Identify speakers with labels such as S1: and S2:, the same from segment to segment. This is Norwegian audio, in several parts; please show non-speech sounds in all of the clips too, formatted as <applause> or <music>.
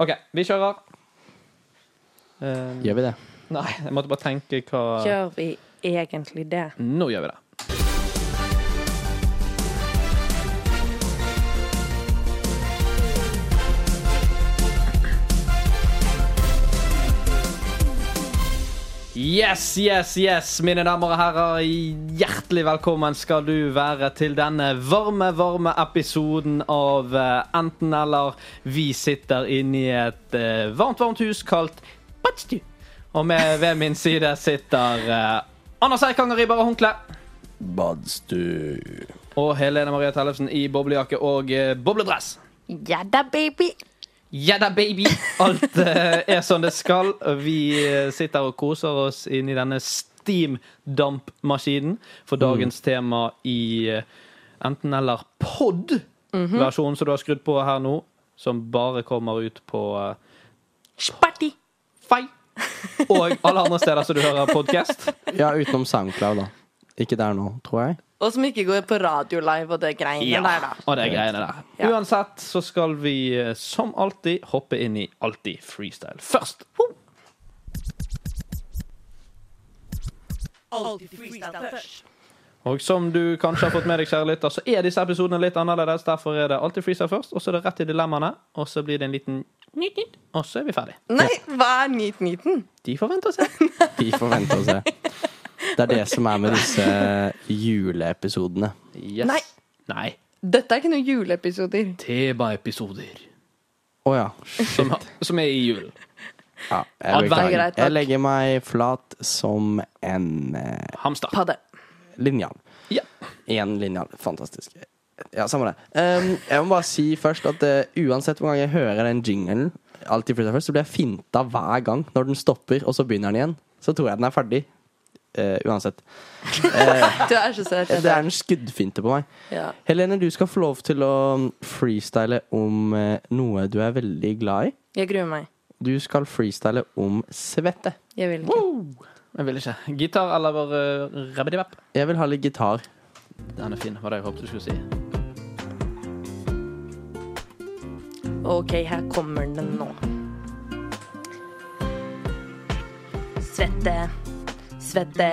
S1: OK, vi kjører. Eh,
S2: Gjør vi det?
S1: <laughs> nei, jeg måtte bare tenke hva
S3: Gjør vi egentlig det?
S1: Nå gjør vi det. Yes, yes, yes, mine damer og herrer. Hjertelig velkommen skal du være til denne varme, varme episoden av eh, Enten eller. Vi sitter inne i et eh, varmt, varmt hus kalt Badstu. Og med, ved min side sitter eh, Anders Eikanger i bare håndkle.
S2: Badstu.
S1: Og Helene Marie Tellefsen i boblejakke og eh, bobledress.
S3: Ja da, baby!
S1: Ja da, baby! Alt eh, er som det skal. Vi eh, sitter og koser oss inn i denne steamdampmaskinen
S3: Mm.
S1: for dagens tema i eh, enten eller pod,
S3: Mhm.
S1: versjonen som du har skrudd på her nå, som bare kommer ut på eh,
S3: Sparti!
S1: Fei og alle andre steder som du hører podkast.
S3: <laughs>
S2: Ja, utenom SoundCloud, da. Ikke der nå, tror jeg.
S3: Og som ikke går på radio live og det greiene der, da.
S1: Og det er greiene der.
S3: Ja.
S1: Uansett så skal vi eh, som alltid hoppe inn i Alltid freestyle først. Ho! Og som du kanskje har fått med deg, kjære lytter, så er disse episodene litt annerledes. Derfor er det alltid freestyle først, og så er det rett i dilemmaene, og så blir det en liten nyt-nyt, og så er vi ferdig.
S3: Nei, hva er nyt-nyten?
S1: De får vente og se.
S2: Vi får vente og se. Det er det som er med disse juleepisodene.
S1: Yes.
S3: Nei.
S1: Nei.
S3: Dette er ikke noen juleepisoder.
S1: Tema-episoder
S2: Å ja.
S1: som, som er i julen.
S2: ja jeg,
S1: Advent.
S2: beklager.
S3: Greit, takk.
S2: jeg legger meg flat som en eh,
S1: Hamster.
S3: Padde.
S2: linjal.
S1: Ja.
S2: Én linjal. Fantastisk. Ja, samme det. Um, jeg må bare si først at eh, uansett hvor gang jeg hører den jinglen, alltid Freestyle først, så blir jeg finta hver gang når den stopper, og så begynner den igjen. Så tror jeg den er ferdig. Eh, <laughs> uansett.
S3: Du er så søt.
S2: Det er en skuddfinte på meg.
S3: Ja.
S2: Helene, du skal få lov til å freestyle om eh, noe du er veldig glad i.
S3: Jeg gruer meg.
S2: Du skal freestyle om svette.
S3: Jeg vil ikke.
S1: Jeg vil ikke. Gitar eller uh, rabbedivapp?
S2: Jeg vil ha litt gitar.
S1: Den er fin, var det jeg håpet du skulle si.
S3: Mm. Ok, her kommer den nå. Svette, svette,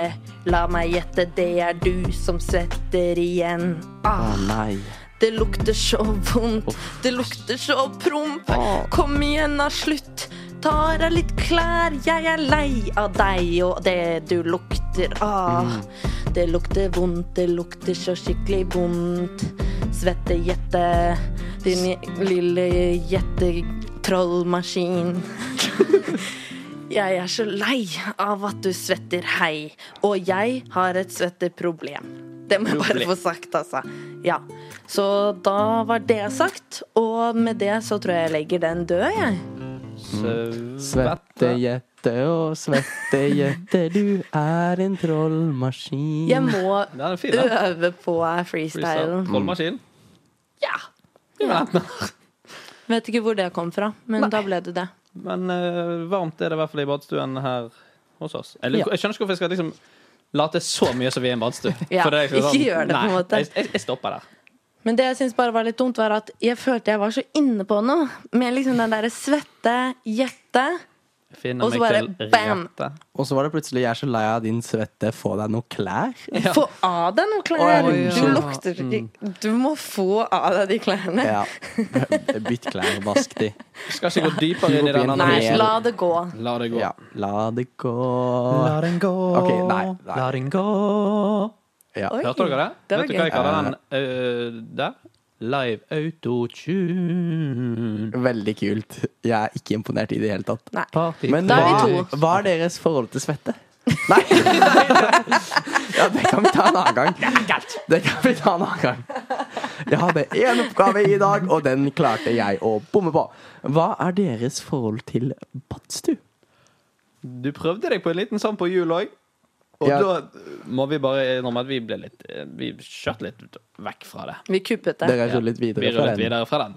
S3: la meg gjette, det er du som svetter igjen.
S2: Å
S3: Ah,
S2: nei.
S3: det lukter så vondt, det lukter så promp.
S2: Åh.
S3: Kom igjen, da, slutt. Tar av litt klær, jeg er lei av deg og det du lukter. Ah, det lukter vondt, det lukter så skikkelig vondt. Svette jette, din lille jettetrollmaskin. Jeg er så lei av at du svetter, hei. Og jeg har et svetteproblem. Det må jeg bare
S1: Problem.
S3: få sagt, altså. Ja. Så da var det sagt, og med det så tror jeg jeg legger den død, jeg.
S1: Svette
S2: Svettejette og svettejette, du er en trollmaskin.
S3: Jeg må
S1: Den er fin, da.
S3: øve på freestylen.
S1: Trollmaskin.
S3: Ja. Vet ikke hvor det kom fra, men da ble det det.
S1: Men eh, varmt er det i hvert fall i badstuen her hos oss. Jeg, lurer- jeg skjønner ikke hvorfor jeg skal liksom late så mye som vi er i en badstue.
S3: <laughs> Ja,
S1: For det er liksom
S3: ikke gjør det, på en
S1: nei,
S3: måte.
S1: Jeg, jeg, jeg stopper der.
S3: Men det jeg syns bare var litt dumt, var at jeg følte jeg var så inne på noe. Med liksom den derre svette, gjette.
S1: Finner
S3: Og så
S1: meg
S3: bare
S1: til
S3: bam!
S1: rette.
S2: Og så var det plutselig 'jeg er så lei av din svette, få deg noe klær'.
S1: Ja.
S3: Få av deg noen klær!
S2: Oi, ja.
S3: Du lukter ikke Du må få av deg de klærne.
S2: Mm. Ja. Bytt klær, vask de.
S1: Skal ikke gå dypere inn i den
S2: Nei.
S3: Nei,
S1: analysen.
S3: la det gå.
S1: La det gå.
S2: Ja. La det gå.
S1: den gå.
S2: Ok, nei, nei. La
S1: den gå.
S2: Ja.
S3: Oi.
S1: Hørte dere det?
S3: Det
S1: Vet du hva
S3: var gøy.
S1: jeg kaller den eh, der? Live autotune.
S2: Veldig kult. Jeg er ikke imponert i det hele tatt.
S3: Nei.
S1: Party.
S2: Men
S3: Da er vi
S2: hva, hva er deres forhold til svette?
S3: <laughs>
S2: Nei! ja, det kan vi ta en annen gang. Det kan vi ta en annen gang. Jeg hadde én oppgave i dag, og den klarte jeg å bomme på. Hva er deres forhold til badstue?
S1: Du prøvde deg på en liten sånn på jul òg. Og
S2: Ja.
S1: da må vi bare innrømme at vi ble litt eh, Vi skjøt litt vekk fra det.
S3: Vi kuppet det.
S2: Dere har rullet
S1: Vi
S2: videre fra
S1: rullet
S2: den.
S1: videre fra den.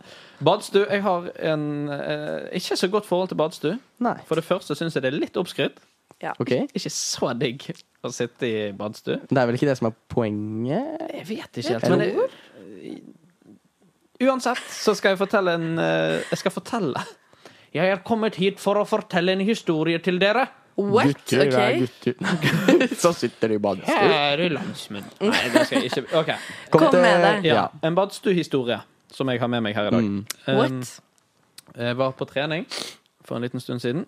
S1: Badstue Jeg har en eh, ikke så godt forhold til badstue.
S2: Nei.
S1: For det første syns jeg det er litt oppskrytt.
S3: Ja.
S2: Ok.
S1: Ikke så digg å sitte i badstue.
S2: Det er vel ikke det som er poenget?
S1: Jeg vet ikke helt.
S2: Jeg
S1: Men det, uansett så skal jeg fortelle en eh, Jeg skal fortelle Jeg er kommet hit for å fortelle en historie til dere.
S3: What?
S2: Gutter er
S3: OK.
S2: gutter. <laughs> så sitter de i badstue.
S1: Kjære landsmenn. Nei, det skal jeg ikke OK.
S3: Kom med det.
S1: Ja.
S2: Ja.
S1: En badstuehistorie som jeg har med meg her i dag. Um,
S3: What?
S1: jeg var på trening for en liten stund siden.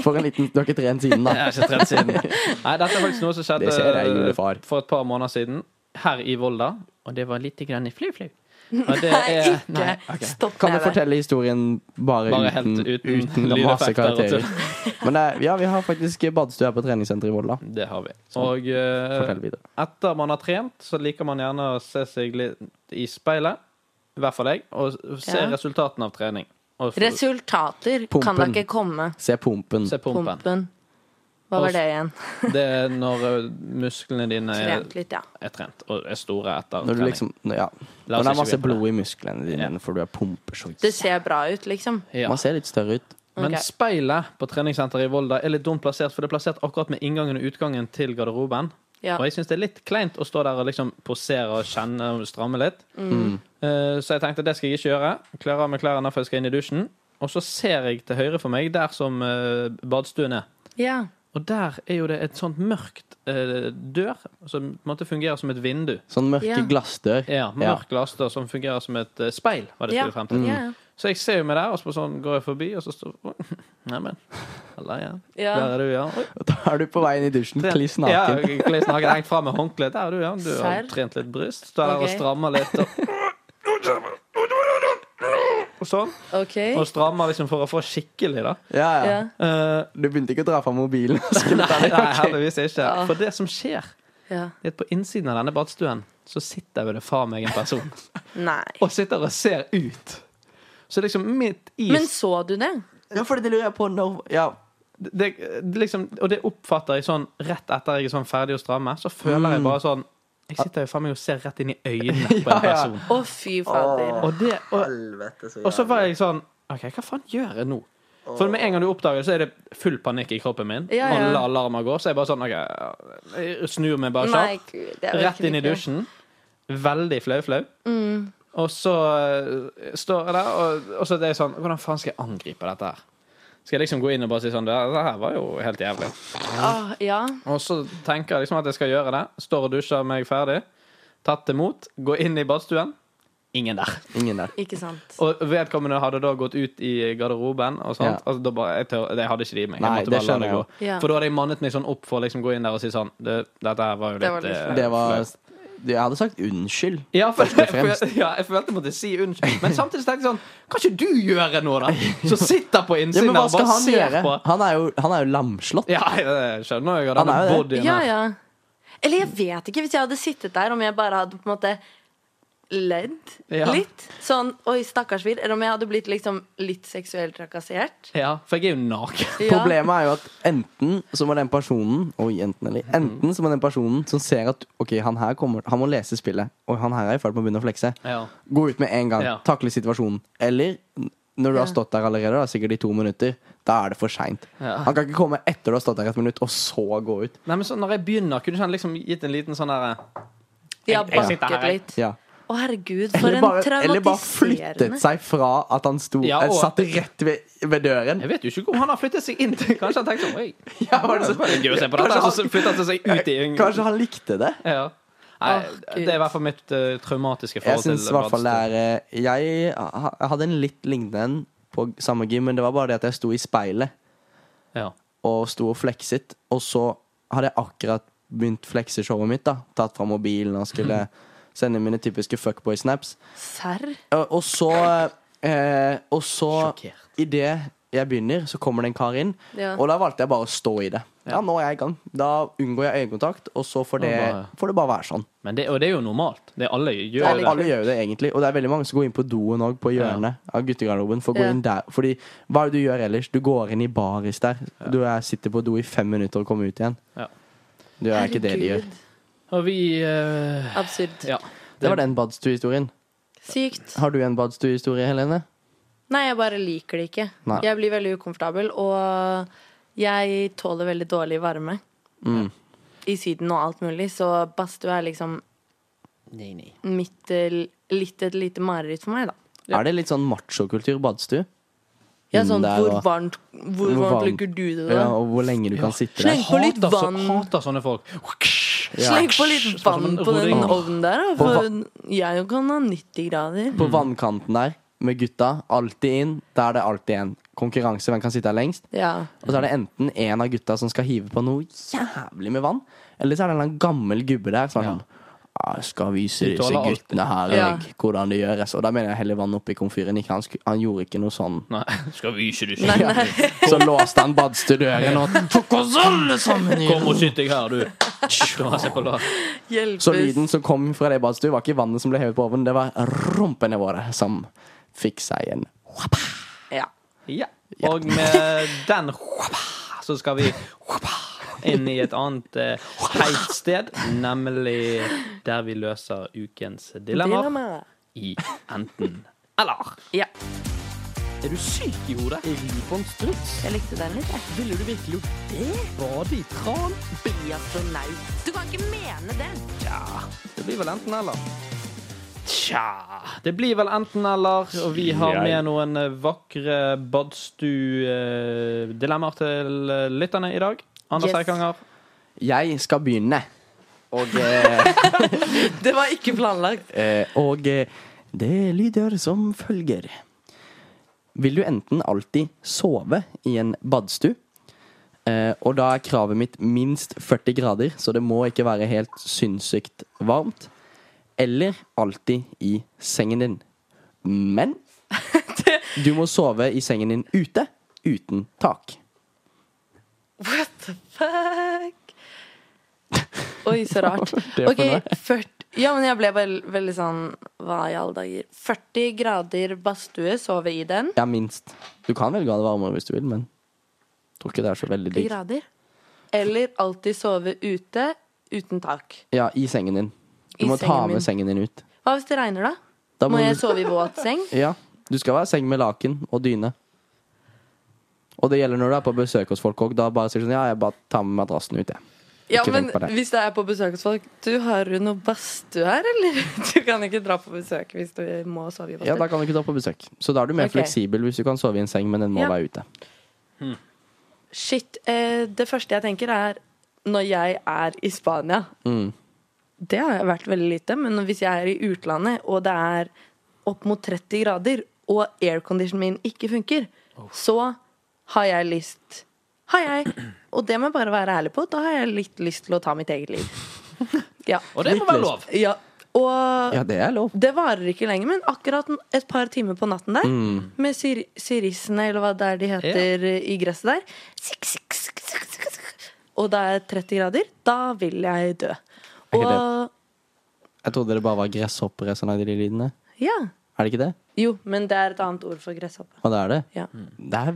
S2: For en liten Du har ikke trent
S1: Jeg
S2: siden, da.
S1: har ikke trent siden.
S2: <laughs>
S1: Nei, dette er faktisk noe som skjedde
S2: Det ser jeg, julefar.
S1: eh, for et par måneder siden her i Volda. Og det var lite grann i fly-fly. Og det er
S3: Nei, ikke
S1: ok.
S3: stopp
S2: Kan du
S3: med det.
S2: fortelle historien bare,
S1: Bare helt
S2: uten,
S1: uten
S2: uten
S1: lydeffekter altså.
S2: masse
S1: og
S2: karakterer?
S1: tull.
S2: <laughs> Men det, er- ja, vi har faktisk badstue her på treningssenteret i Volda.
S1: Det har vi. Og eh,
S2: Fortell videre.
S1: etter man har trent, så liker man gjerne å se seg litt i speilet. I hvert fall jeg. Og se
S3: Ja.
S1: resultatene av trening. Og f-
S3: Resultater kan da
S2: Pumpen.
S3: ikke komme.
S2: Se pumpen.
S1: se pumpen.
S3: Pumpen. Hva var det igjen?
S1: Det er når eh, musklene dine er,
S3: Trent litt, ja.
S1: er trent og er store etter
S2: Når du
S1: trening.
S2: liksom Ja.
S1: La oss
S2: Når det er
S1: ikke
S2: masse
S1: gå inn på det.
S2: blod i musklene dine, for du er pumper så
S3: Det ser bra ut, liksom.
S1: Ja.
S2: Man ser litt større ut.
S1: Men
S3: Ok.
S1: speilet på treningssenteret i Volda er litt dumt plassert, for det er plassert akkurat med inngangen og utgangen til garderoben.
S3: Ja.
S1: Og jeg syns det er litt kleint å stå der og liksom posere og kjenne og stramme litt.
S2: Mm.
S1: Eh, Så jeg tenkte det skal jeg ikke gjøre. Kler av meg klærne før jeg skal inn i dusjen. Og så ser jeg til høyre for meg der som eh, badstuen er.
S3: ja.
S1: Og der er jo det et sånt mørkt eh, dør som på en måte fungerer som et vindu.
S2: Sånn mørke
S3: Ja.
S2: glassdør.
S1: Ja, mørk glassdør som fungerer som et eh, speil, var det jeg
S3: Ja.
S1: skulle frem
S2: Mm.
S1: til.
S3: Ja.
S1: Så jeg ser jo meg der, og så sånn går jeg forbi, og så står <laughs> Neimen. Halla, ja.
S3: Ja.
S1: Der er du, ja. Oi.
S2: Og Da er du på veien i dusjen, kliss
S1: Ja,
S2: naken.
S1: kliss naken. Hengt fra med håndkleet. Der er du, ja. Du har
S3: Serr?
S1: trent litt bryst. Står der og
S3: Ok.
S1: strammer litt. Og, og sånn.
S3: OK.
S1: Og strammer liksom for å få skikkelig, da.
S2: Ja, ja.
S3: Ja.
S1: Eh,
S2: Du begynte ikke å dra fra mobilen? og skulle ta
S1: nei,
S2: den.
S1: nei,
S2: Ok.
S1: heldigvis ikke.
S3: Ja.
S1: For det som skjer,
S3: ja.
S1: er at på innsiden av denne badstuen så sitter jo det faen meg en
S3: <laughs>
S1: person.
S3: Nei.
S1: Og sitter og ser ut. Så liksom midt i
S3: Men så du det?
S2: Ja, fordi det lurer jeg på når Ja.
S1: det, det- liksom, Og det oppfatter jeg sånn rett etter jeg er sånn ferdig å stramme. Så føler
S3: Mm.
S1: jeg bare sånn Jeg sitter jo faen meg og ser rett inn i
S3: <laughs>
S1: øynene på en
S2: Ja, ja.
S1: person.
S3: Å, fy fader.
S1: Og det, og,
S2: Helvete,
S1: Og så var jeg sånn OK, hva faen gjør jeg nå? For med en gang du oppdager det, så er det full panikk i kroppen min.
S3: Ja, ja.
S1: Alle alarmer går, så jeg bare sånn OK, jeg snur meg bare
S3: Nei,
S1: kjapt.
S3: gud. jeg
S1: Rett
S3: orker
S1: inn i
S3: ikke.
S1: dusjen. Veldig flau-flau.
S3: Mm.
S1: Og så eh, står jeg der, og, og så er det sånn Hvordan faen skal jeg angripe dette her? Skal jeg liksom gå inn og bare si sånn Det det her var jo helt jævlig.
S3: Åh, ja.
S1: Og så tenker jeg liksom at jeg skal gjøre det. Står og dusjer meg ferdig. Tatt imot. Gå inn i badstuen. Ingen der.
S2: Ingen der.
S3: Ikke sant.
S1: Og vedkommende hadde da gått ut i garderoben. og sånt
S2: Ja.
S1: altså, da bare, jeg, tør, jeg hadde ikke det i meg. Jeg
S2: Nei,
S1: måtte
S2: det
S1: bare la
S2: skjønner
S1: det gå.
S2: jeg
S3: Ja.
S1: For da hadde jeg mannet meg sånn opp for å liksom gå inn der og si sånn det, Dette her var jo
S3: Det var
S1: litt,
S3: litt
S1: eh,
S3: flaut.
S2: Det var Jeg hadde sagt unnskyld.
S1: ja, for,
S2: først og
S1: for,
S2: fremst.
S1: ja, jeg følte jeg måtte si unnskyld. Men samtidig tenkte jeg sånn Kan ikke du gjøre noe, da? Som sitter på
S2: Ja,
S1: innsiden
S2: men hva
S1: og
S2: skal
S1: bare
S2: han
S1: ser
S2: gjøre?
S1: på.
S2: Han er jo, han er jo lamslått.
S1: Ja, jeg skjønner jo.
S2: Han
S1: Denne
S2: er jo det.
S1: bodyen
S3: Ja,
S1: her.
S3: ja. Eller jeg vet ikke. Hvis jeg hadde sittet der, om jeg bare hadde på en måte ledd
S1: Ja.
S3: litt Sånn 'oi, stakkars fyr'. Eller om jeg hadde blitt liksom litt seksuelt trakassert.
S1: Ja, for jeg er jo naken.
S3: Ja.
S2: Problemet er jo at enten så må den personen Oi, enten eller Enten så må den personen som ser at Ok, han her kommer Han må lese spillet, og han her er i ferd med å begynne å flekse.
S1: Ja.
S2: Gå ut med en gang.
S1: Ja.
S2: Takle situasjonen. Eller når du
S3: Ja.
S2: har stått der allerede, da, sikkert i to minutter, da er det for seint.
S1: Ja.
S2: Han kan ikke komme etter du har stått der et minutt, og så gå ut.
S1: Nei, men så når jeg begynner, kunne ikke han liksom gitt en liten sånn derre
S3: Ja,
S1: Jeg- jeg sitter
S3: bakket
S1: her, jeg.
S3: litt.
S2: Ja.
S3: Å, herregud, for
S2: Eller, bare,
S3: en
S2: eller bare flyttet
S3: traumatiserende
S2: seg fra at han sto
S1: Ja, og-
S2: eh, satt rett ved, ved døren.
S1: Jeg vet jo ikke om han har flyttet seg inn til Kanskje han tenkte sånn Oi,
S2: Ja, var det så-
S1: det er gøy å se på
S2: Kanskje
S1: dette.
S2: han-
S1: Så flyttet han seg ut i yngre.
S2: Kanskje han likte det.
S1: Ja. Nei,
S3: Åh, Gud.
S1: det er i hvert fall mitt eh, traumatiske
S2: Jeg
S1: forhold til
S2: syns i hvert fall det
S1: badstue.
S2: er eh, Jeg ha- jeg hadde en litt lignende en på samme gym, men det var bare det at jeg sto i speilet
S1: Ja.
S2: og sto og flekset, og så hadde jeg akkurat begynt flekseshowet mitt, da. Tatt fra mobilen og <laughs> skulle sende mine typiske fuckboy-snaps.
S3: Serr?
S2: Og, og så eh, Og så
S1: Sjokkert.
S2: Idet jeg begynner, så kommer det en kar inn.
S3: Ja.
S2: Og da valgte jeg bare å stå i det. Ja, nå er jeg i gang. Da unngår jeg øyekontakt, og så får det,
S1: Ja, da-
S2: får det bare være sånn.
S1: Men det, og det er jo normalt. Det er alle gjør
S3: Det er
S1: jo
S3: litt-
S1: det.
S2: Alle gjør jo det egentlig, og det er veldig mange som går inn på doen òg, på hjørnet av guttegarderoben. For å gå
S3: Ja.
S2: inn der Fordi hva er det du gjør ellers? Du går inn i baris der. Du er, sitter på do i fem minutter og kommer ut igjen.
S1: Ja.
S2: Det er ikke det de gjør.
S1: Og vi eh,
S3: Absurd.
S1: Ja.
S2: Det var den badstuehistorien.
S3: Sykt.
S2: Har du en badstuehistorie, Helene?
S3: Nei, jeg bare liker det ikke.
S2: Nei.
S3: Jeg blir veldig ukomfortabel, og jeg tåler veldig dårlig varme.
S2: Mm.
S3: I Syden og alt mulig, så badstue er liksom
S1: Nei, nei.
S2: Mm,
S3: mitt eh, litt et lite mareritt for meg, da.
S2: Er det litt sånn machokultur badstue?
S3: Ja, sånn,
S2: der,
S3: hvor
S2: og-
S3: varmt, hvor
S2: Hvor
S3: varmt
S2: varmt-
S3: ligger du det, da?
S2: Ja,
S3: <laughs>
S2: og hvor lenge du kan sitte
S1: Jeg
S3: Sleng
S2: der.
S3: på litt
S1: hater så-
S3: vann.
S1: Hater sånne folk.
S2: Ja.
S3: Sleng på litt
S1: Sånn
S3: vann
S1: som en
S3: på den
S1: roding.
S3: ovnen der, da, for jeg kan ha 90 grader.
S2: På vannkanten der med gutta. Alltid inn. Der er det alltid en konkurranse. Hvem kan sitte her lengst?
S3: Ja.
S2: Og så er det enten en av gutta som skal hive på noe jævlig med vann, eller så er det en eller annen gammel gubbe der som er
S1: Ja.
S2: sånn «Ah, jeg skal vise
S1: De
S2: disse
S1: tåler alt».
S2: guttene her
S3: Ja.
S2: jeg, hvordan det gjøres. Og da mener jeg heller vann oppi komfyren. Ikke han, sku- han gjorde ikke noe sånn.
S1: Nei, skal vise du
S3: Nei, nei.
S2: <laughs> Så låste han badstuedøren, og <laughs> tok oss alle sammen i
S1: Kom og sitt deg her, du. Kom og se på lag.
S3: Hjelpes.
S2: Så lyden som kom fra det badstuet, var ikke vannet som ble hevet på ovnen, det var rumpene våre som fikk seg en
S3: Ja.
S1: Ja. Og med den så skal vi inn i et annet eh, heit sted, nemlig der vi løser ukens dilemmaer
S3: Dilemma.
S1: i enten eller.
S3: Ja,
S1: Er du syk i hodet? Ribbon struts?
S3: jeg likte den litt. jeg.
S1: Ville du virkelig gjort det? Bade i tran?
S3: Bli astronaut. Du kan ikke mene det.
S1: Det blir vel enten eller. Tja Det blir vel enten eller, og vi har
S2: Jeg-
S1: med noen eh, vakre badstue-dilemmaer til eh, lytterne i dag. Anders
S3: Yes.
S1: Eikanger.
S2: Jeg skal begynne. Og eh,
S3: Det var ikke planlagt. <laughs>
S2: Eh, og eh, det lyder som følger. Vil du enten alltid sove i en badstue? Eh, og da er kravet mitt minst 40 grader, så det må ikke være helt sinnssykt varmt. Eller alltid i sengen din. Men du må sove i sengen din ute, uten tak.
S3: What the
S2: <laughs>
S3: fuck? Oi, så rart.
S2: Det er for
S3: Ok, 40 Ja, men jeg ble vel, veldig sånn Hva i alle dager? 40 grader badstue, sove i den?
S2: Ja, minst. Du kan velge å ha det varmere hvis du vil, men jeg tror ikke det er så veldig
S3: 40
S2: digg.
S3: grader? Eller alltid sove ute, uten tak.
S2: Ja, i sengen din. Du
S3: I
S2: må ta
S3: sengen min.
S2: med sengen din ut.
S3: Hva hvis det regner, da?
S2: Da
S3: Må
S2: må
S3: jeg
S2: du-
S3: sove i våt seng?
S2: Ja, du skal være i seng med laken og dyne. Og det gjelder når du er på besøk hos folk òg. Da bare sier du sånn Ja, jeg bare tar med madrassen ut, jeg.
S3: Ja,
S2: <laughs> Ikke
S3: men
S2: tenk på det.
S3: hvis det er på besøk hos folk Du, har du noe badstue her, eller? <laughs> Du kan ikke dra på besøk hvis du må sove i
S2: Ja, da
S3: badstue.
S2: kan du ikke ta på besøk. Så da er du mer
S3: Ok.
S2: fleksibel hvis du kan sove i en seng, men den må
S3: Ja.
S2: være ute.
S3: Shit. Eh, det første jeg tenker, er når jeg er i Spania.
S2: Mm.
S3: Det har jeg vært veldig lite, men hvis jeg er i utlandet, og det er opp mot 30 grader, og airconditionen min ikke funker, så har jeg lyst Har jeg, og det må jeg bare være ærlig på, da har jeg litt lyst til å ta mitt eget liv. Ja.
S1: Og det må være lov.
S3: ja. Og
S2: Ja, det er lov.
S3: Det varer ikke lenge, men akkurat n- et par timer på natten der,
S2: Mm.
S3: med sir sirissene, eller hva det er de heter, i gresset der sikk, sikk, sikk, sikk, sikk, sikk. Og det er 30 grader, da vil jeg dø.
S2: Er
S3: Og
S2: ikke Jeg trodde det bare var gresshoppere som lagde de lydene.
S3: ja.
S2: Er det ikke det?
S3: Jo, men det er et annet ord for gresshoppe.
S2: Og det er det.
S3: Ja.
S2: Det er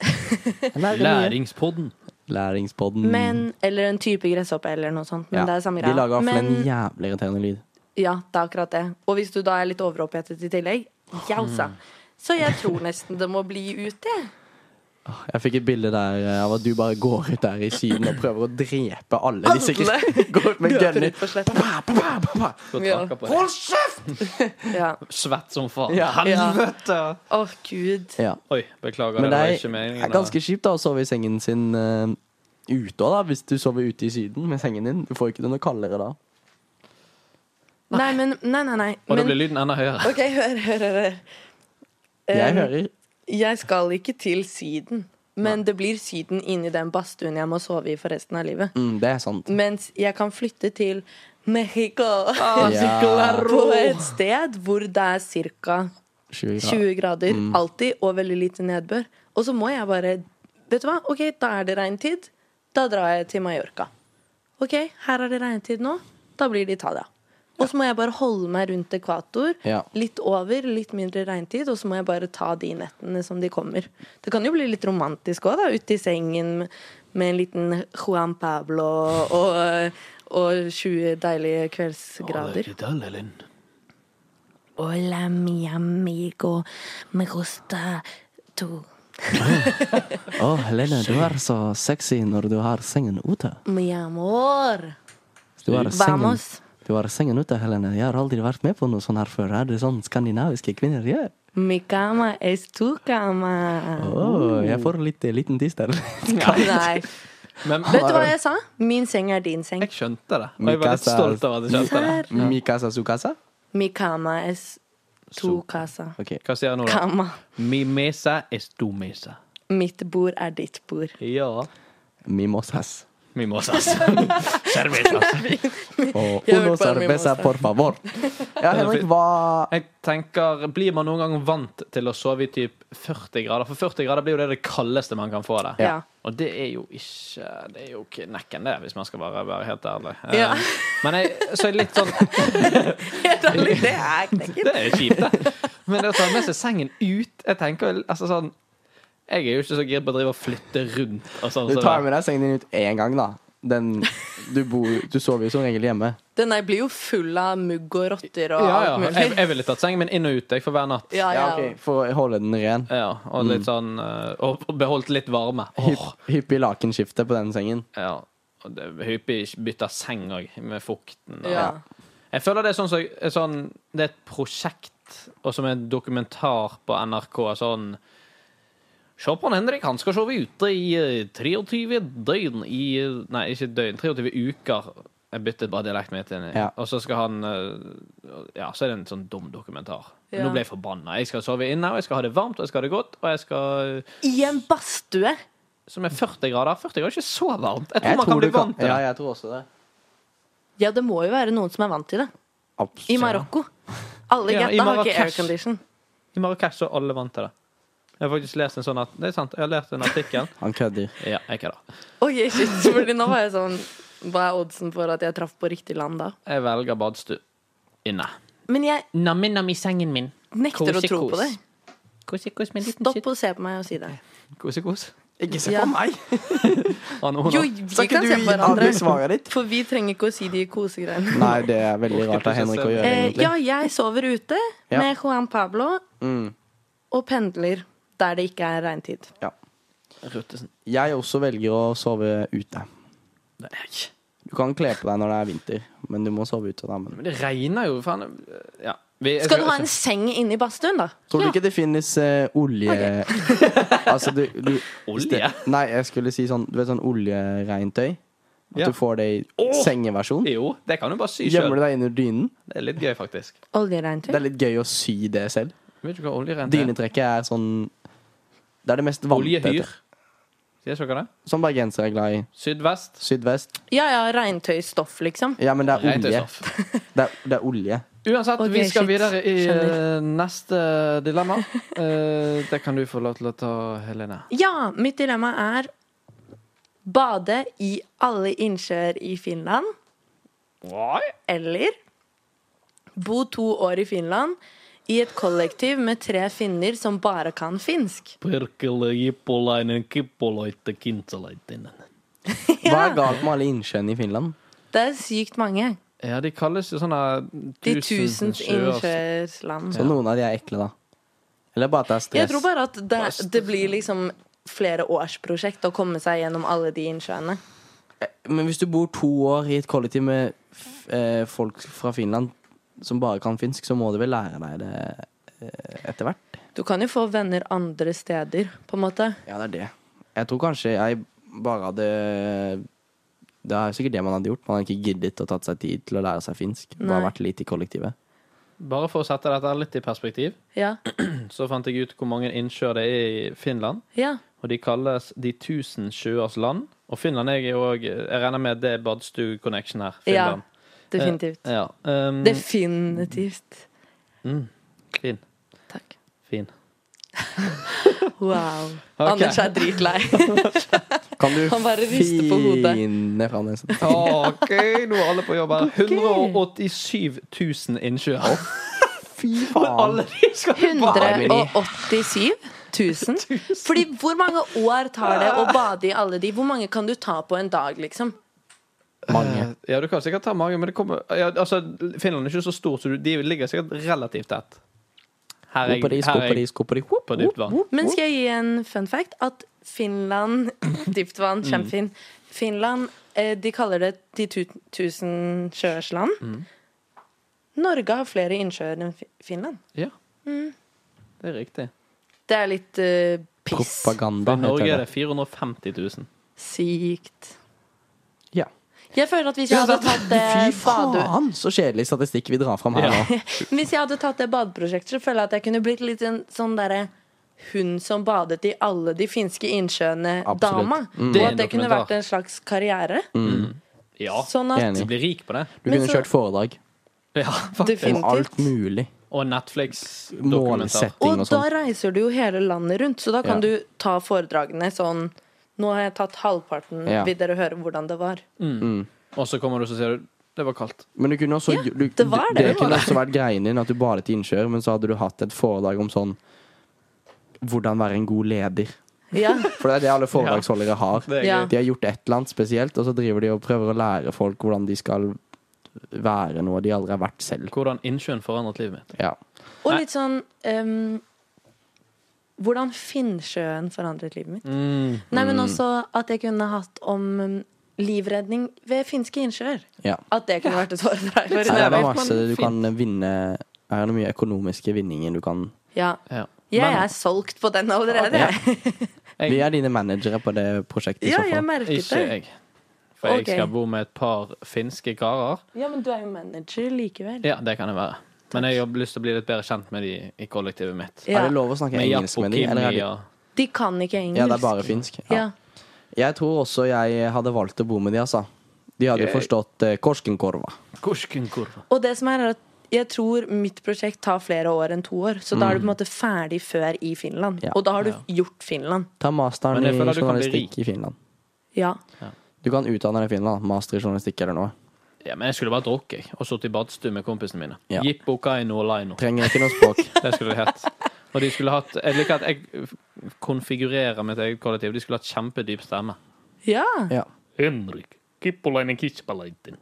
S3: <laughs>
S2: Jeg lærer mye.
S1: Læringspodden.
S2: Læringspodden.
S3: Men, eller en type gresshoppe, eller noe sånt. Men
S2: Ja,
S3: det er samme
S2: De
S3: greia.
S2: lager i hvert fall en
S3: Men-
S2: jævlig irriterende lyd.
S3: Ja, det er akkurat det. Og hvis du da er litt overopphetet i tillegg, jausa.
S2: Mm.
S3: Så jeg tror nesten det må bli ut, jeg.
S2: Jeg fikk et bilde der eh, av at du bare går ut der i Syden og prøver å drepe alle disse
S3: Alle.
S2: kristne. <laughs> Går
S3: <laughs>
S2: ut med
S3: Løper
S2: gunner.
S3: ut på sletta.
S2: Pa, pa, pa, pa, pa.
S1: Godt
S3: Ja.
S1: takka på det.
S2: Hold kjeft!
S3: Ja.
S1: Svett som faen.
S2: Ja.
S1: Helvete!
S3: Å, gud.
S2: Ja.
S1: Oi, beklager.
S2: Men
S1: det
S2: det
S1: var
S2: er,
S1: ikke meningen.
S2: er ganske kjipt da å sove i sengen sin eh, ute òg, da. Hvis du sover ute i Syden med sengen din. Du får ikke det noe kaldere da.
S3: Nei, men Nei, nei, nei.
S1: Og da
S3: Men
S1: blir lyden enda høyere.
S3: OK, hør, hør, hør. hør.
S2: Jeg
S3: Um,
S2: hører
S3: jeg skal ikke til Syden, men det blir Syden inni den badstuen jeg må sove i for resten av livet.
S2: mm, Det er sant.
S3: Mens jeg kan flytte til Mexico.
S2: Ja.
S3: <laughs> På et sted hvor det er ca.
S2: 20 grader.
S3: 20 grader alltid, og veldig lite nedbør. Og så må jeg bare Vet du hva, OK, da er det regntid. Da drar jeg til Mallorca. OK, her er det regntid nå. Da blir det Italia. Og så må jeg bare holde meg rundt ekvator.
S2: Ja.
S3: Litt over, litt mindre regntid, og så må jeg bare ta de nettene som de kommer. Det kan jo bli litt romantisk òg, da. Ute i sengen med en liten Juan Pablo og, og 20 deilige kveldsgrader. Hola, mi amigo. Me gusta tu.
S2: Å, Helene, du er så sexy når du har sengen ute.
S3: Mi amor.
S2: Du har sengen,
S3: Vamos.
S2: du har sengen ute, Helene. Jeg har aldri vært med på noe sånt her før. Er det sånn skandinaviske kvinner gjør?
S3: Mi cama es tu cama.
S2: Åh, jeg får litt eh, liten tiss der.
S3: Nei.
S1: Men
S3: Vet du hva jeg sa? Min seng er din seng.
S1: jeg skjønte det. Og jeg var litt stolt av at jeg skjønte det.
S2: <laughs> Mi casa su casa?
S3: Mi cama es tu casa.
S2: Ok.
S1: Hva sier jeg nå, da?
S3: Cama.
S1: Mi mesa es tu mesa.
S3: Mitt bord er ditt bord.
S1: Ja.
S2: Mimosas.
S1: Mimosas.
S2: Og
S3: Jeg har
S2: uno
S3: hørt på en
S2: cerveza,
S3: mimosa.
S2: por favor. Ja, Henrik, hva <laughs>
S1: Jeg tenker, Blir man noen gang vant til å sove i typ 40 grader? For 40 grader blir jo det det kaldeste man kan få det.
S3: Ja.
S1: Og det er jo ikke Det er jo ikke nekken, det, hvis man skal være, være helt ærlig.
S3: Ja.
S1: Eh, Men jeg, så er det litt sånn <laughs>
S3: Helt ærlig, <laughs> det er knekken.
S1: Det er kjipt, det. Men det å ta med seg sengen ut Jeg tenker vel, altså sånn Jeg er jo ikke så gira på å drive og flytte rundt. Og sånn,
S2: Du
S1: så
S2: tar
S1: det-
S2: med deg sengen din ut én gang, da. Den, du, bor, du sover jo som regel hjemme.
S3: Den der blir jo full av mugg og rotter og
S1: ja, ja.
S3: alt
S1: Jeg,
S3: mulig.
S1: jeg ville tatt sengen min inn og ut jeg, for hver natt.
S3: Ja, ja.
S2: ok, For å holde den ren.
S1: Ja, og litt sånn eh, Og og beholdt litt varme.
S2: Mm. Hypp,
S1: Åh,
S2: hyppig lakenskifte på den sengen.
S1: ja. Og det- Hyppig bytte seng òg, med fukten. og-
S3: ja.
S1: Jeg føler det er sånn, som- er sånn Det er et prosjekt, og som er en dokumentar på NRK. Sånn Se på han Henrik, han skal sove ute i eh, 23 døgn i eh, Nei, ikke døgn, 23 uker. Jeg byttet bare dialekten min til en
S2: Ja.
S1: Og så skal han eh, Ja, så er det en sånn dum dokumentar. Men
S3: Ja.
S1: Nå ble jeg forbanna. Jeg skal sove inne, og jeg skal ha det varmt, og jeg skal ha det godt, og jeg skal eh,
S3: I en badstue.
S1: Som er 40 grader. 40 grader er ikke så varmt. Jeg tror
S2: Jeg
S1: man kan
S2: tror du
S1: bli vant til
S2: Ja,
S1: det.
S2: jeg tror også det.
S3: Ja, det må jo være noen som er vant til det. I
S2: Absolutt.
S3: Marokko. Alle
S1: Ja, i
S3: getta har ikke
S1: Marrakech.
S3: aircondition.
S1: I Marrakech så er alle vant til det. Jeg har faktisk lest en sånn at Det er sant, jeg har lært en artikkel.
S2: Han kødder.
S1: <laughs> Ja, jeg kødder.
S3: Oi, shit, fordi nå var jeg sånn Hva er oddsen for at jeg traff på riktig land da?
S1: Jeg velger badstue. Inne.
S3: Men jeg
S1: Nam-nam i sengen min.
S3: nekter å tro på det.
S1: Kosekos med liten
S3: Stopp og se på meg og si det.
S1: Kosekos.
S2: Ikke se
S3: Ja.
S2: på meg!
S3: Jo,
S1: Hva
S2: Skal ikke
S3: vi kan
S2: du
S3: se på
S2: gi
S3: hverandre.
S2: alle svaret ditt?
S3: For vi trenger ikke å si de kosegreiene.
S2: <laughs> Nei, det er veldig rart av Henrik å gjøre,
S3: Eh,
S2: egentlig.
S3: ja, jeg sover ute
S2: Ja.
S3: med Juan Pablo
S2: Mm,
S3: og pendler der det ikke er regntid.
S2: ja. Jeg også velger å sove ute. Du kan kle på deg når det er vinter, men du må sove ute. da men.
S1: Men det regner jo, faen. Ja. Vi- jeg
S3: Skal du ha en seng inne i badstuen, da?
S2: Tror du
S3: Ja.
S2: ikke det finnes eh, olje... <laughs> altså, du, du
S1: Olje?
S2: Nei, jeg skulle si sånn Du vet sånn oljeregntøy? At
S1: Ja.
S2: du får det i
S1: Åh!
S2: sengeversjon?
S1: Jo, det kan du bare sy
S2: Gjemmer
S1: sjøl.
S2: du deg under dynen?
S1: Det er litt gøy, faktisk.
S2: Det
S3: Oljeregntøy?
S2: er litt gøy å sy det selv.
S1: Vet du hva oljerent er?
S2: Dynetrekket er sånn Det er det mest vantete.
S1: Oljehyr. Sier dere det?
S2: Som bergensere er glad i.
S1: Sydvest.
S2: Sydvest.
S3: Ja ja, regntøystoff, liksom.
S2: Ja, men det er olje.
S1: Regntøystoff.
S2: Det er, det er olje.
S1: Uansett,
S3: Ok,
S1: vi skal
S3: shit.
S1: videre i eh,
S3: Skjønner.
S1: neste
S3: <laughs>
S1: dilemma. Eh, det kan du få lov til å ta, Helene.
S3: Ja, mitt dilemma er bade i alle innsjøer i Finland. Eller bo to år i Finland i et kollektiv med tre finner som bare kan finsk.
S2: Hva er galt med alle innsjøene i Finland?
S3: Det er sykt mange.
S1: Ja, de kalles jo sånne
S3: De tusens
S1: sjøer.
S3: innsjøersland.
S2: Så
S1: altså.
S2: noen av de er ekle, da. Eller bare at det er stress.
S3: Jeg tror bare at det, det blir liksom flere årsprosjekt å komme seg gjennom alle de innsjøene.
S2: Men hvis du bor to år i et kollektiv med f- eh, folk fra Finland som bare kan finsk, så må du vel lære deg det eh, etter hvert?
S3: Du kan jo få venner andre steder, på en måte.
S2: Ja, det er det. Jeg tror kanskje jeg bare hadde Det er sikkert det man hadde gjort. Man hadde ikke giddet å tatt seg tid til å lære seg finsk. Bare
S3: Nei.
S2: vært litt i kollektivet.
S1: Bare for å sette dette litt i perspektiv,
S3: Ja.
S1: så fant jeg ut hvor mange innsjøer det er i Finland.
S3: ja.
S1: Og de kalles De tusen sjøers land. Og Finland er jo òg Jeg regner med det er badstue-connection her.
S3: ja.
S1: Finland.
S3: Definitivt.
S1: Eh, ja. Um,
S3: Definitivt. <laughs>
S1: fin.
S3: Takk.
S1: Fin.
S3: <laughs> Wow.
S1: Ok.
S3: Anders er dritlei.
S2: Kan du
S3: <laughs> Han bare rister på hodet.
S2: finne fram den setningen?
S1: OK, nå er alle på jobb her. 187 000 innsjøer.
S2: Fy faen!
S1: Alle de skal jo bade i.
S3: 187
S2: <laughs>
S3: 000? Fordi hvor mange år tar det å bade i alle de? Hvor mange kan du ta på en dag, liksom?
S2: Mange.
S1: Ja, du kan sikkert ta mange, men det kommer ja, altså, Finland er ikke så stort, så du, de ligger sikkert relativt tett. Her er, her
S2: Skopperi,
S1: er
S2: skopperi, skopperi.
S1: på dypt vann.
S3: Men skal jeg gi en fun fact? At Finland <coughs> Dyptvann,
S2: Mm.
S3: kjempefin. Finland, eh, de kaller det de tu- tusen sjøers land.
S2: Mm.
S3: Norge har flere innsjøer enn Fi- Finland.
S1: Ja. Det er riktig.
S3: Det er litt eh, piss.
S2: Propaganda
S1: I Norge er det 450 000.
S3: Sykt.
S2: Ja.
S3: Jeg føler at hvis jeg hadde tatt det
S2: Fy
S3: bade...
S2: faen, så kjedelig statistikk vi drar fram her
S1: Ja.
S2: nå.
S3: <laughs> Hvis jeg hadde tatt det badeprosjektet, så føler jeg at jeg kunne blitt litt en sånn derre hun som badet i alle de finske
S2: Absolutt. Mm.
S3: innsjøene-dama. Og
S1: Det er
S3: at det
S1: en
S3: kunne
S1: dokumentar.
S3: vært en slags karriere.
S1: Mm. Ja.
S3: Sånn at
S2: Enig.
S1: Du blir rik på det.
S2: Du
S3: Men
S2: kunne
S3: så-
S2: kjørt foredrag
S1: <laughs> Ja, faktisk.
S3: Definitivt.
S2: om alt mulig.
S1: Og Netflix-dokumentar.
S2: Målsetting
S3: Og
S2: og
S3: da
S2: sånn.
S3: reiser du jo hele landet rundt, så da kan
S2: Ja.
S3: du ta foredragene sånn Nå har jeg tatt halvparten.
S2: Ja.
S3: Vil dere høre hvordan det
S2: <laughs>
S3: var?
S1: Og så kommer du og så sier du det var kaldt.
S2: Men du kunne også
S3: Ja,
S2: du,
S3: det var det. Det var
S2: kunne
S3: det.
S2: også vært greien din at du badet i innsjøer, men så hadde du hatt et foredrag om sånn Hvordan være en god leder.
S3: Ja.
S2: For det er det alle foredragsholdere har.
S1: Det er
S3: Ja.
S1: gøy.
S2: De har gjort et eller annet spesielt, og så driver de og prøver å lære folk hvordan de skal være noe de aldri har vært selv.
S1: Hvordan innsjøen forandret livet mitt.
S2: Ja.
S3: Og litt sånn ehm, Hvordan Finnsjøen forandret livet mitt. Nei,
S2: Mm.
S3: men også at jeg kunne hatt om um, livredning ved finske innsjøer.
S2: ja.
S3: At det kunne vært et <laughs> foredrag. for
S2: Her er det
S3: elever.
S1: men
S2: masse du
S1: fint.
S2: kan vinne Her er det mye økonomiske vinninger du kan
S3: Ja.
S1: Ja.
S3: Jeg
S1: Men-
S3: er solgt på den allerede.
S2: Ja.
S1: Jeg-
S2: Vi er dine managere på det prosjektet. i
S3: Ja,
S2: så
S3: jeg
S2: fall.
S3: merket
S1: Ikke
S3: det.
S1: jeg. For jeg
S3: Ok.
S1: skal bo med et par finske karer.
S3: Ja, Men du er jo manager likevel.
S1: Ja, det kan jeg være. Men jeg har lyst til å bli litt bedre kjent med de i kollektivet mitt.
S2: Er
S3: Ja.
S2: det lov å snakke
S1: Med
S2: engelsk
S1: Japp og
S2: med dem? Eller er
S1: Kimmi
S2: det,
S1: og
S3: De kan ikke engelsk.
S2: ja, det er bare finsk.
S3: Ja.
S2: Ja. Jeg tror også jeg hadde valgt å bo med de, altså. De hadde jo
S1: Jeg-
S2: forstått eh, korskenkorva.
S1: Korskenkurva.
S3: Og det som er, er at jeg tror mitt prosjekt tar flere år enn to år. Så da er du på en måte ferdig før i Finland.
S2: Mm. Ja.
S3: Og da har du
S1: Ja.
S3: gjort Finland.
S2: Ta masteren
S1: Men
S2: i
S1: jeg føler at du kan bli
S2: journalistikk i Finland.
S3: Ja.
S2: Du kan utdanne deg i Finland. Master i journalistikk eller noe.
S1: Ja, men jeg skulle bare drukket jeg, og sittet i badstue med kompisene mine.
S2: Ja.
S1: Jippo, Kaino og Laino.
S2: Trenger ikke noe språk.
S3: <laughs>
S1: Det skulle det hett. Og de skulle hatt Jeg liker at jeg konfigurerer mitt eget kollektiv. De skulle hatt kjempedyp stemme.
S3: ja.
S2: Ja.
S1: Henrik. Kippolainen Kitspalainen.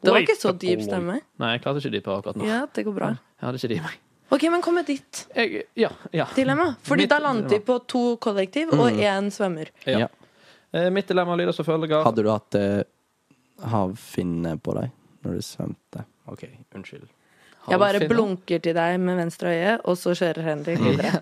S3: Det var ikke så dyp stemme.
S1: Nei, jeg klarte ikke dypere akkurat nå.
S3: Ja, det går bra.
S1: Jeg hadde ikke de i meg.
S3: Ok, men kom med ditt
S1: Jeg, ja, ja.
S3: dilemma. Fordi
S1: Mitt
S3: da landet vi på to kollektiv og én svømmer.
S1: ja.
S2: Ja.
S1: Eh, Mitt dilemma lyder som følger.
S2: Hadde du hatt eh, havfinne på deg når du svømte? OK, unnskyld.
S3: Jeg bare
S1: Havfinne.
S3: blunker til deg med venstre øye, og så kjører Henrik videre.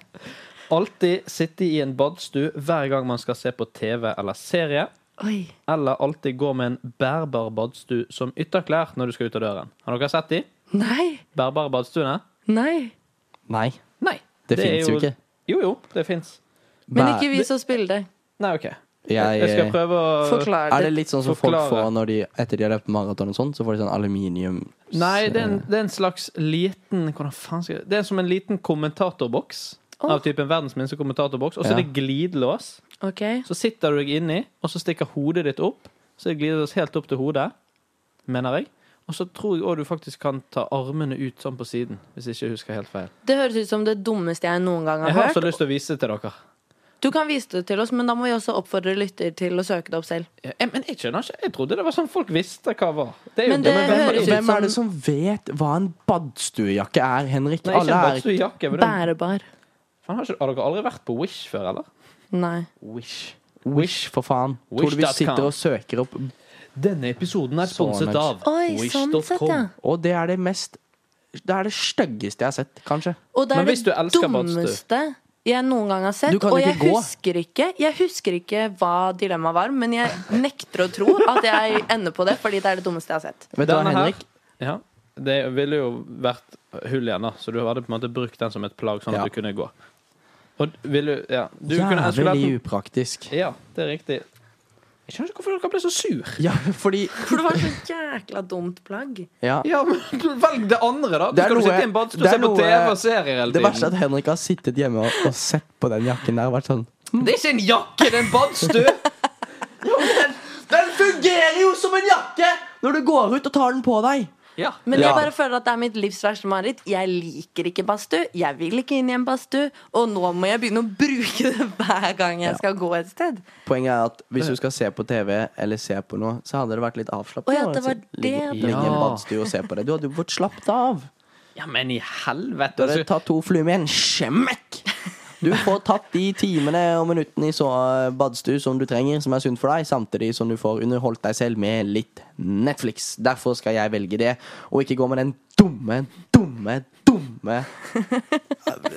S1: Alltid sitte i en badstue hver gang man skal se på TV eller serie.
S3: Oi.
S1: Eller alltid gå med en bærbar badstue som ytterklær når du skal ut av døren. Har dere sett de?
S3: Nei.
S1: Bærbare badstuene?
S3: Nei.
S2: Nei.
S1: Nei.
S2: Det,
S1: er
S2: fins jo ikke.
S1: Jo, jo, det fins.
S3: Men
S2: Bæ-
S3: ikke vis oss bildet.
S1: Nei, OK.
S2: Jeg,
S1: Jeg eh, skal prøve å
S3: Forklar
S2: Er det
S3: det.
S2: litt sånn som
S1: Forklare.
S2: folk får når de etter de har løpt maraton og sånn, så får de sånn aluminium
S1: Nei, det er,
S2: Eh.
S1: en, det er en slags liten Hvordan faen skal jeg Det er som en liten kommentatorboks.
S3: Åh.
S1: Av typen verdens minste kommentatorboks. Og så er
S2: Ja.
S1: det glidelås.
S3: Ok.
S1: Så sitter du deg inni, og så stikker hodet ditt opp. Så det glider oss helt opp til hodet, mener jeg. Og så tror jeg òg du faktisk kan ta armene ut sånn på siden, hvis jeg ikke husker helt feil.
S3: Det høres ut som det dummeste jeg noen gang
S1: Jeg
S3: har
S1: har så
S3: hørt.
S1: lyst til å vise det til dere.
S3: Du kan vise det til oss, men da må vi også oppfordre lytter til å søke det opp selv.
S1: Jeg, men jeg skjønner ikke. Jeg trodde det var sånn folk visste hva var. Det er jo
S3: Men det
S1: dumme-
S3: høres ut
S2: Hvem
S3: som-
S2: er det som vet hva en badstuejakke er, Henrik?
S1: Nei, ikke
S2: Alle
S1: en
S2: er
S1: badstuejakke. men det-
S3: Bærebar.
S1: Faen, Har ikke- har dere aldri vært på Wish før, eller?
S3: Nei.
S1: Wish.
S2: Wish, for faen. Tror du vi
S1: Wish.com.
S2: sitter og søker opp
S1: Denne episoden er sponset
S2: Sånn,
S1: av
S3: Oi, sånn sett, ja.
S2: Og det er det mest Det er det styggeste jeg har sett, kanskje.
S3: Og det
S1: Men
S3: er
S1: hvis du
S3: det
S1: elsker badstue-
S3: dummeste jeg noen gang har sett.
S2: Du kan
S3: Og
S2: jo
S3: jeg
S2: ikke gå.
S3: husker ikke, jeg husker ikke hva dilemmaet var, men jeg nekter å tro at jeg ender på det, fordi det er det dummeste jeg har sett.
S2: Vet du hva,
S1: Denne her
S2: Henrik?
S1: ja, Det ville jo vært hull igjen, da. Så du hadde på en måte brukt den som et plagg, sånn
S2: Ja.
S1: at du kunne gå. Og ville du Ja. Du kunne jeg skulle vært-
S2: Jævlig upraktisk.
S1: Ja, det er riktig. Jeg skjønner ikke hvorfor dere ble så sur.
S2: Ja, fordi
S3: For det var så jækla dumt plagg.
S1: <laughs>
S2: Ja.
S1: <laughs> Ja, men Velg det andre, da.
S2: Det er
S1: Skal du
S2: noe-
S1: sitte i en badstue og
S2: det er
S1: se på
S2: noe-
S1: TV og serier hele
S2: Det verste er
S1: tiden?
S2: at Henrik har sittet hjemme og, og sett på den jakken der og vært sånn
S1: Det er ikke en jakke, det er en badstue!
S2: Den fungerer jo som en jakke når du går ut og tar den på deg!
S1: <laughs> Ja.
S3: Men
S2: Ja.
S3: jeg bare føler at det er mitt livs verste mareritt. Jeg liker ikke badstue. Jeg vil ikke inn i en badstue. Og nå må jeg begynne å bruke det hver gang jeg skal gå et sted.
S2: Poenget er at hvis du skal se på TV eller se på noe, så hadde det vært litt avslappet.
S3: Å ja,
S2: å
S3: det var
S2: sitte-
S3: det
S2: ligge-
S3: det
S2: ligge i en
S1: var.
S2: badstue og se på det. Du hadde jo fått slappet av.
S1: ja, men i
S2: Du
S1: helvete.
S2: hadde
S1: altså.
S2: tatt to fluer med en smekk. Du får tatt de timene og minuttene i så eh, badstue som du trenger, som er sunt for deg, samtidig som du får underholdt deg selv med litt Netflix. Derfor skal jeg velge det, og ikke gå med den dumme, dumme, dumme eh,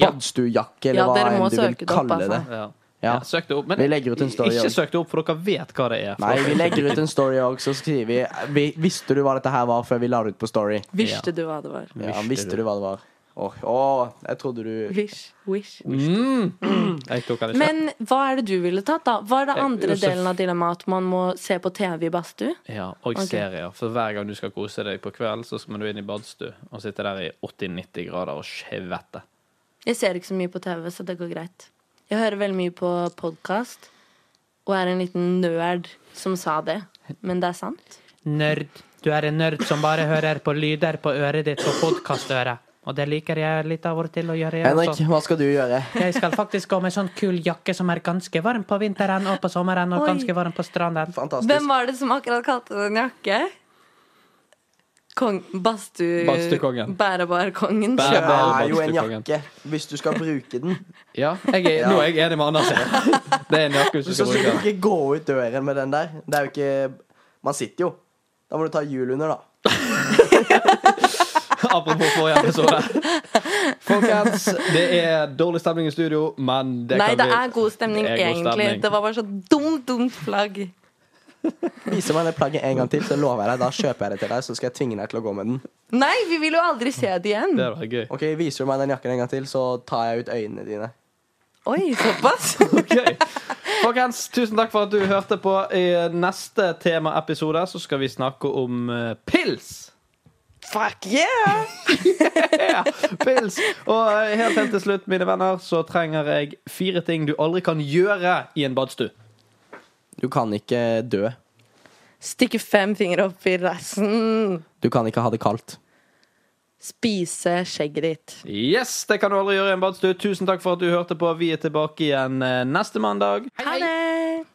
S2: badstuejakke, eller
S3: Ja,
S2: hva
S3: dere må
S2: enn du vil
S3: søke det opp,
S2: kalle det.
S3: altså.
S1: Ja.
S2: Ja.
S1: Ja, søk det opp. Men
S2: Vi legger ut en story
S1: ikke
S2: også.
S1: søk det opp, for dere vet hva det er.
S2: Nei, vi legger ut en story òg, så skriver vi, vi Visste du hva dette her var før vi la det ut på story?
S3: Visste du hva det var?
S2: Ja,
S1: Visste
S2: visste
S1: du.
S2: du hva det var? Åh, åh, jeg trodde du
S3: Wish, wish.
S1: Mm. Jeg tok den ikke.
S3: Men hva er det du ville tatt, da? Hva er det
S1: Eh,
S3: andre
S1: Josef.
S3: delen av dilemmaet? At man må se på TV i badstue?
S1: Ja, og
S3: Ok.
S1: serier. For hver gang du skal kose deg på kveld, så skal du inn i badstue og sitte der i 80-90 grader og skjevette.
S3: Jeg ser ikke så mye på TV, så det går greit. Jeg hører veldig mye på podkast, og er en liten nerd som sa det. Men det er sant.
S1: Nerd. Du er en nerd som bare hører på lyder på øret ditt på podkastøret. Og det liker jeg litt av og til å gjøre.
S2: Henrik, hva skal du gjøre?
S1: Jeg skal faktisk gå med sånn kul jakke som er ganske varm på vinteren og på sommeren
S3: og Oi. ganske
S1: varm på stranden.
S2: Fantastisk.
S3: Hvem var det som akkurat kalte det en jakke? Kong, badstue...
S1: Badstuekongen.
S3: Bærebarkongen
S2: Det
S1: Bærebar.
S3: sjøl.
S2: er jo en
S1: Badstuekongen.
S2: jakke, hvis du skal bruke
S1: <laughs>
S2: den.
S1: Ja, jeg er, <laughs> nå er jeg enig med Anders. her. Det er en jakke hvis du skal
S2: Så skal
S1: bruke
S2: du
S1: den.
S2: ikke gå ut døren med den der. Det er jo ikke Man sitter jo. Da må du ta hjul under, da.
S1: Apropos forrige episode. <laughs> Folkens, det er dårlig stemning i studio, men det
S3: Nei,
S1: kan
S3: det
S1: vi
S3: er god stemning,
S1: Det er god
S3: egentlig.
S1: stemning.
S3: Det var bare så dumt, dumt flagg.
S2: Viser meg det plagget en gang til, så lover jeg deg. Da kjøper jeg det til deg, så skal jeg tvinge deg til å gå med den.
S3: Nei, vi vil jo aldri se det igjen.
S1: Det var gøy.
S2: Ok, Viser du meg den jakken en gang til, så tar jeg ut øynene dine.
S3: Oi, såpass? <laughs>
S1: Ok. Folkens, tusen takk for at du hørte på. I neste temaepisode så skal vi snakke om eh, pils.
S3: Fuck yeah!
S1: <laughs> Ja, pils. Og eh, helt helt til slutt, mine venner, så trenger jeg fire ting du aldri kan gjøre i en badstue.
S2: Du kan ikke dø.
S3: Stikke fem fingre opp i rassen.
S2: Du kan ikke ha det kaldt.
S3: Spise skjegget ditt.
S1: Yes, det kan du aldri gjøre i en badstue. Tusen takk for at du hørte på. Vi er tilbake igjen eh, neste mandag.
S3: Ha det!